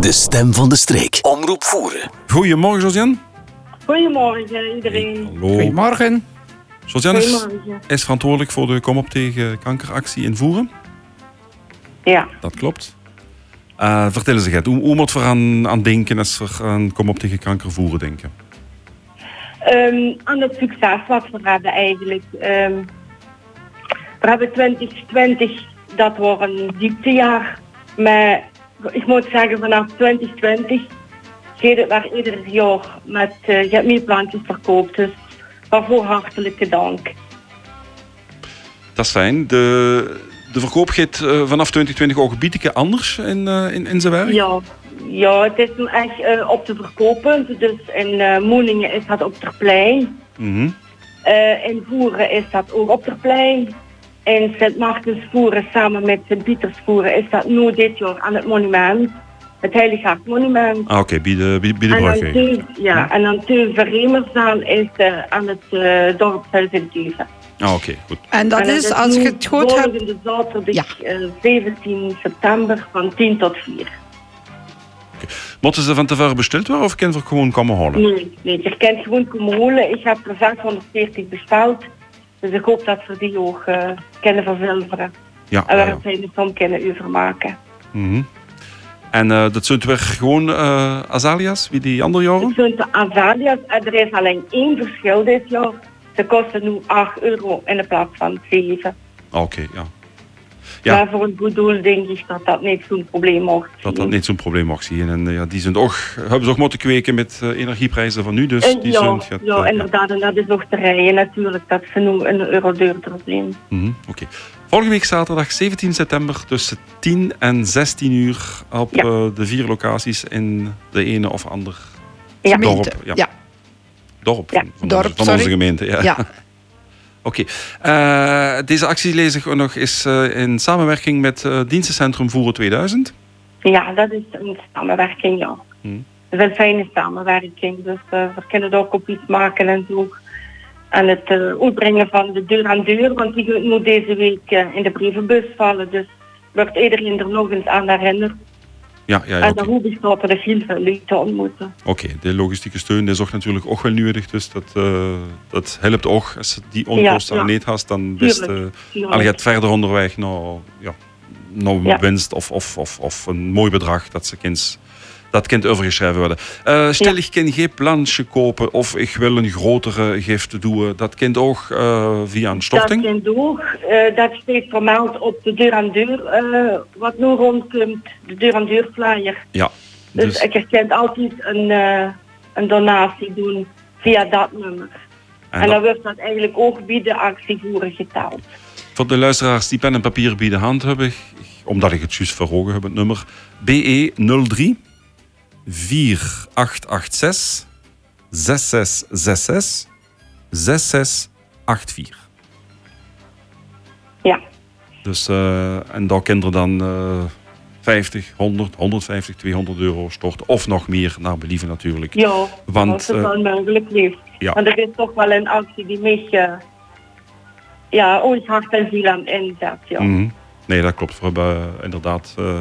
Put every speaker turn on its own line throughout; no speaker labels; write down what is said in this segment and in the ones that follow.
De stem van de streek. Omroep voeren.
Goedemorgen, Josiane.
Goedemorgen iedereen.
Hallo.
Goedemorgen.
Josiane is,
Goedemorgen.
is verantwoordelijk voor de Kom op tegen kankeractie in Voeren.
Ja,
Dat klopt. Eh vertel eens, Gert, hoe, hoe moet we aan, aan denken als we aan Kom op tegen kanker voeren denken?
ehm, aan het succes wat we hebben eigenlijk. Ehm, we hebben 2020, dat wordt een dieptejaar. Maar ik moet zeggen, vanaf 2020 gaat het weer ieder jaar met uh, jasmienplantjes verkoopt. Dus waarvoor hartelijke dank.
Dat is fijn. De, de verkoop gaat eh, vanaf 2020 ook een beetje anders in, eh, in, in zijn werk.
Ja, ja het is nu echt eh, op te verkopen. Dus in eh Moeningen is dat op terplein.
Mhm.
Eh, in Voeren is dat ook op de plein. In Sint Maartensvoeren samen met Sint Pietersvoeren is dat nu dit jaar aan het monument. Het Heilig Hart monument.
Ah, oké, bij de, bij, bij de
en
brug.
dan
eigenlijk.
Teu- ja, en dan Teu Verremersdaan is eh, aan het eh dorp Zuid in Deven.
Ah, oké, goed.
En dat
En
is, als
nu
je het goed hebt...
Volgende zaterdag
Ja.
eh, 17 september van 10 tot 4.
Moeten ze van tevoren besteld worden of kan ze gewoon komen halen?
Nee, nee, je kent gewoon komen holen. Ik heb er 540 besteld. Dus ik hoop dat we die ook eh, kunnen verzilveren.
Ja, ja,
En waar
ja.
het fijne van kunnen overmaken.
Mhm. En eh, dat zijn weer gewoon eh, azalea's, wie die andere
Het
jaren?
zijn de azalea's en er is alleen één verschil dit jaar. Ze kosten nu 8 euro in de plaats van 7.
Ah, oké, ja. Ja.
Maar voor een goed doel denk ik dat dat niet zo'n probleem mag
Dat dat
zijn.
niet zo'n probleem mag zien. En eh, ja, die zijn ook, hebben ze ook moeten kweken met eh, energieprijzen van nu. Dus
En
die
ja,
zijn... gaat,
ja,
eh, ja.
inderdaad. En dat is nog te rijden natuurlijk. Dat ze nu een euro duurder zijn.
Mhm, Oké. Volgende week zaterdag 17 september tussen 10 en 16 uur op
Ja.
eh, de vier locaties in de ene of ander
Ja.
Gemeente.
Dorp, ja.
Ja,
dorp
Ja,
van, van
dorp,
onze, van
sorry.
onze gemeente. Ja.
ja.
Oké. Eh, deze actie lees ik ook nog is eh, in samenwerking met eh, Dienstencentrum Voeren 2000.
Ja, dat is een samenwerking, ja.
Hmm.
Het is een fijne samenwerking. Dus eh, we kunnen er ook op iets maken en zo. En het eh, uitbrengen van de deur aan deur, want die gaat nu deze week eh, in de brievenbus vallen. Dus wordt iedereen er nog eens aan herinnerd.
Ja, ja, ja
En
oké.
Ah, dan hoop ik dat er heel veel leuk te ontmoeten.
Oké, de logistieke steun die is ook natuurlijk ook wel nodig. Dus dat, eh, dat helpt ook. Als je die onkosten
Ja,
aan
ja.
niet hast, dan best... eh
Tuurlijk, tuurlijk.
al gaat verder onderweg naar, ja, naar
Ja.
winst of, of, of, of een mooi bedrag dat ze kind, dat kind overgeschreven worden. Eh, stel,
Ja.
ik kan geen plantje kopen of ik wil een grotere gift doen. Dat kind ook eh, via een storting?
Dat zijn door. eh, dat staat vermeld op de deur aan deur, eh, wat nu rondkomt. De deur aan deur flyer.
Ja.
Dus,
Dus,
ik herkent altijd een, eh, een donatie doen via dat nummer.
en
En, dan
dat,
wordt dat eigenlijk ook bij de actievoeren geteld.
voor de luisteraars die pen en papier bij de hand hebben, omdat ik het juist verhogen heb, het nummer E BE 03 4886 6666 6684.
Ja,
Dus, eh, en daar kinderen dan eh 50, 100, 150, 200 euro storten. Of nog meer, naar believen natuurlijk.
ja
Want,
als het
eh,
wel mogelijk leeft.
ja.
Want er is toch wel een actie die mij eh, ja, ons hart en ziel aan inzet. Ja.
Mhm. Nee, dat klopt. We hebben eh, inderdaad eh,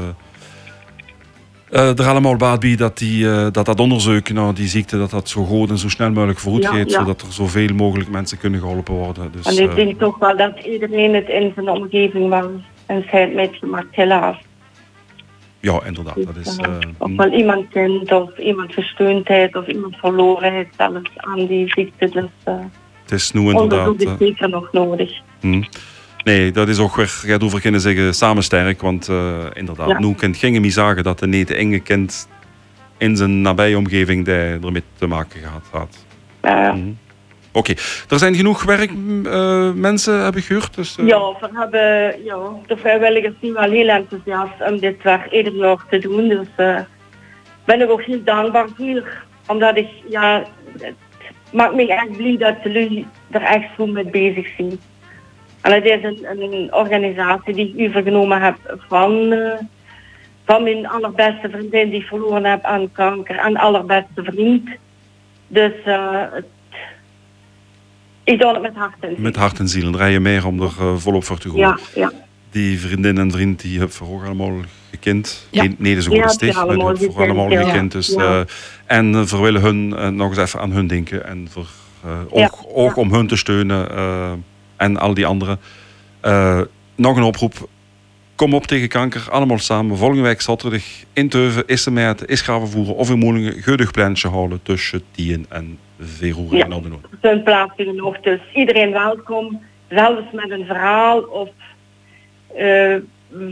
eh, er allemaal baat bij dat, die, eh, dat dat onderzoek naar die ziekte dat dat zo goed en zo snel mogelijk vooruit
Ja,
gaat.
ja.
Zodat er zoveel mogelijk mensen kunnen geholpen worden. Dus,
en ik
eh,
denk toch wel dat iedereen het in zijn omgeving wel een scheid meegemaakt, helaas.
ja, inderdaad. Dat is,
Ja.
eh,
of wel iemand kent, of iemand versteund heeft, of iemand verloren heeft, zelfs aan die ziekte. Dus eh
het is nu inderdaad...
onderzoek is
eh,
zeker nog nodig.
Hm. Nee, dat is ook weer, jij over kunnen zeggen, samen sterk. Want eh, inderdaad,
Ja.
nu kan geen meer zagen dat de nete enge kind in zijn nabije omgeving daar ermee te maken gehad had.
Eh,
Oké, er zijn genoeg werkmensen, mensen heb ik gehoord. Dus, eh,
Ja, we hebben ja, de vrijwilligers zijn wel heel enthousiast om dit werk ieder jaar te doen. Dus eh, ben ik ook heel dankbaar voor. Omdat ik, ja, het maakt me echt blij dat jullie er echt goed mee bezig zijn. En het is een, een organisatie die ik overgenomen heb van, eh, van mijn allerbeste vriendin die ik verloren heb aan kanker en allerbeste vriend. Dus eh, het, ik doe het met hart en ziel.
Met hart en ziel. En rij je meer om er eh, volop voor te gaan.
Ja, ja.
Die vriendin en vriend die heb voor ook allemaal gekend.
Ja.
Nee, Nee, dat is een
Ja,
goede
het is
sticht. Dat
allemaal
wordt voor
gekend,
allemaal
ja.
gekend. Dus,
Ja.
eh, en eh, voor willen hun eh, nog eens even aan hun denken. En voor, eh, ook,
Ja.
ook om hun te steunen eh, en al die anderen. Eh, nog een oproep. Kom op tegen kanker, allemaal samen. Volgende week zaterdag in Teuven, Issemeert, Isgravenvoeren of in Moelingen. Geudig plantje houden tussen Tien en Veroer
Ja.
en op de Noord.
zijn plaats nog. Dus iedereen welkom, zelfs met een verhaal of eh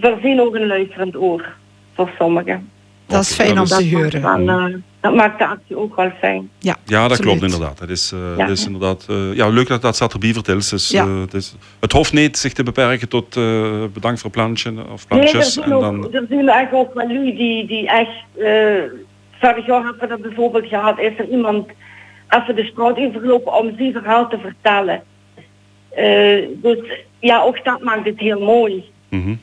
voorzien ook een luisterend oor voor sommigen.
Dat is fijn
dat
om
is-
te
Dat, maakt
horen.
wel, eh, dat maakt de actie ook wel fijn.
Ja,
Ja, dat
absoluut.
klopt inderdaad. Het is, eh,
Ja.
het is inderdaad eh, ja, leuk dat dat Saterbie vertelt. Dus,
Ja.
eh, het, is, het hoeft niet zich te beperken tot eh, bedankt voor plantje of
Nee, er
plantjes.
zijn,
en
ook,
dan,
er zijn eigenlijk ook wel lui die, die echt... eh vorig jaar hebben we dat bijvoorbeeld gehad. Is er iemand even de straat overgelopen om zijn verhaal te vertellen. Eh, dus ja, ook dat maakt het heel mooi.
Mhm.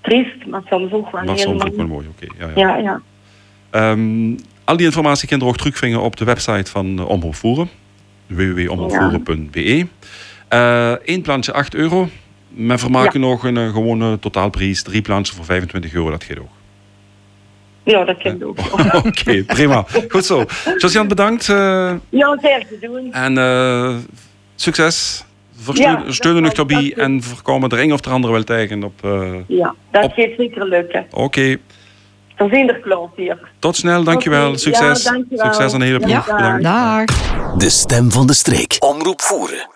Triest, maar soms ook wel
Maar
heel
soms ook wel
mooi.
mooi. oké ja, ja.
Ja, ja.
Ehm, al die informatie kunt je ook terugvinden op de website van eh, Omroep Voeren. www.omroepvoeren.be Eén plantje 8 euro. Maar vermaken nog een eh, gewone totaalprijs. Drie plantjes voor 25 euro, dat geeft ook.
Ja, dat klinkt ook.
Oké, prima. Goed zo. Josiane, bedankt. eh,
Ja, zeer te doen.
En eh, succes.
Ja,
Versteun
dat
steunen nog
zal-
Tobi
dat-
en voorkomen er een of de andere wel tegen. Op, eh,
Ja, dat
Op-
gaat zeker lukken.
Oké,
Er zijn er klaar hier.
tot snel. Dankjewel.
Oké,
Succes.
ja, dankjewel.
Succes aan de hele ploeg.
Ja,
Bedankt.
dag.
De stem van de streek. Omroep voeren.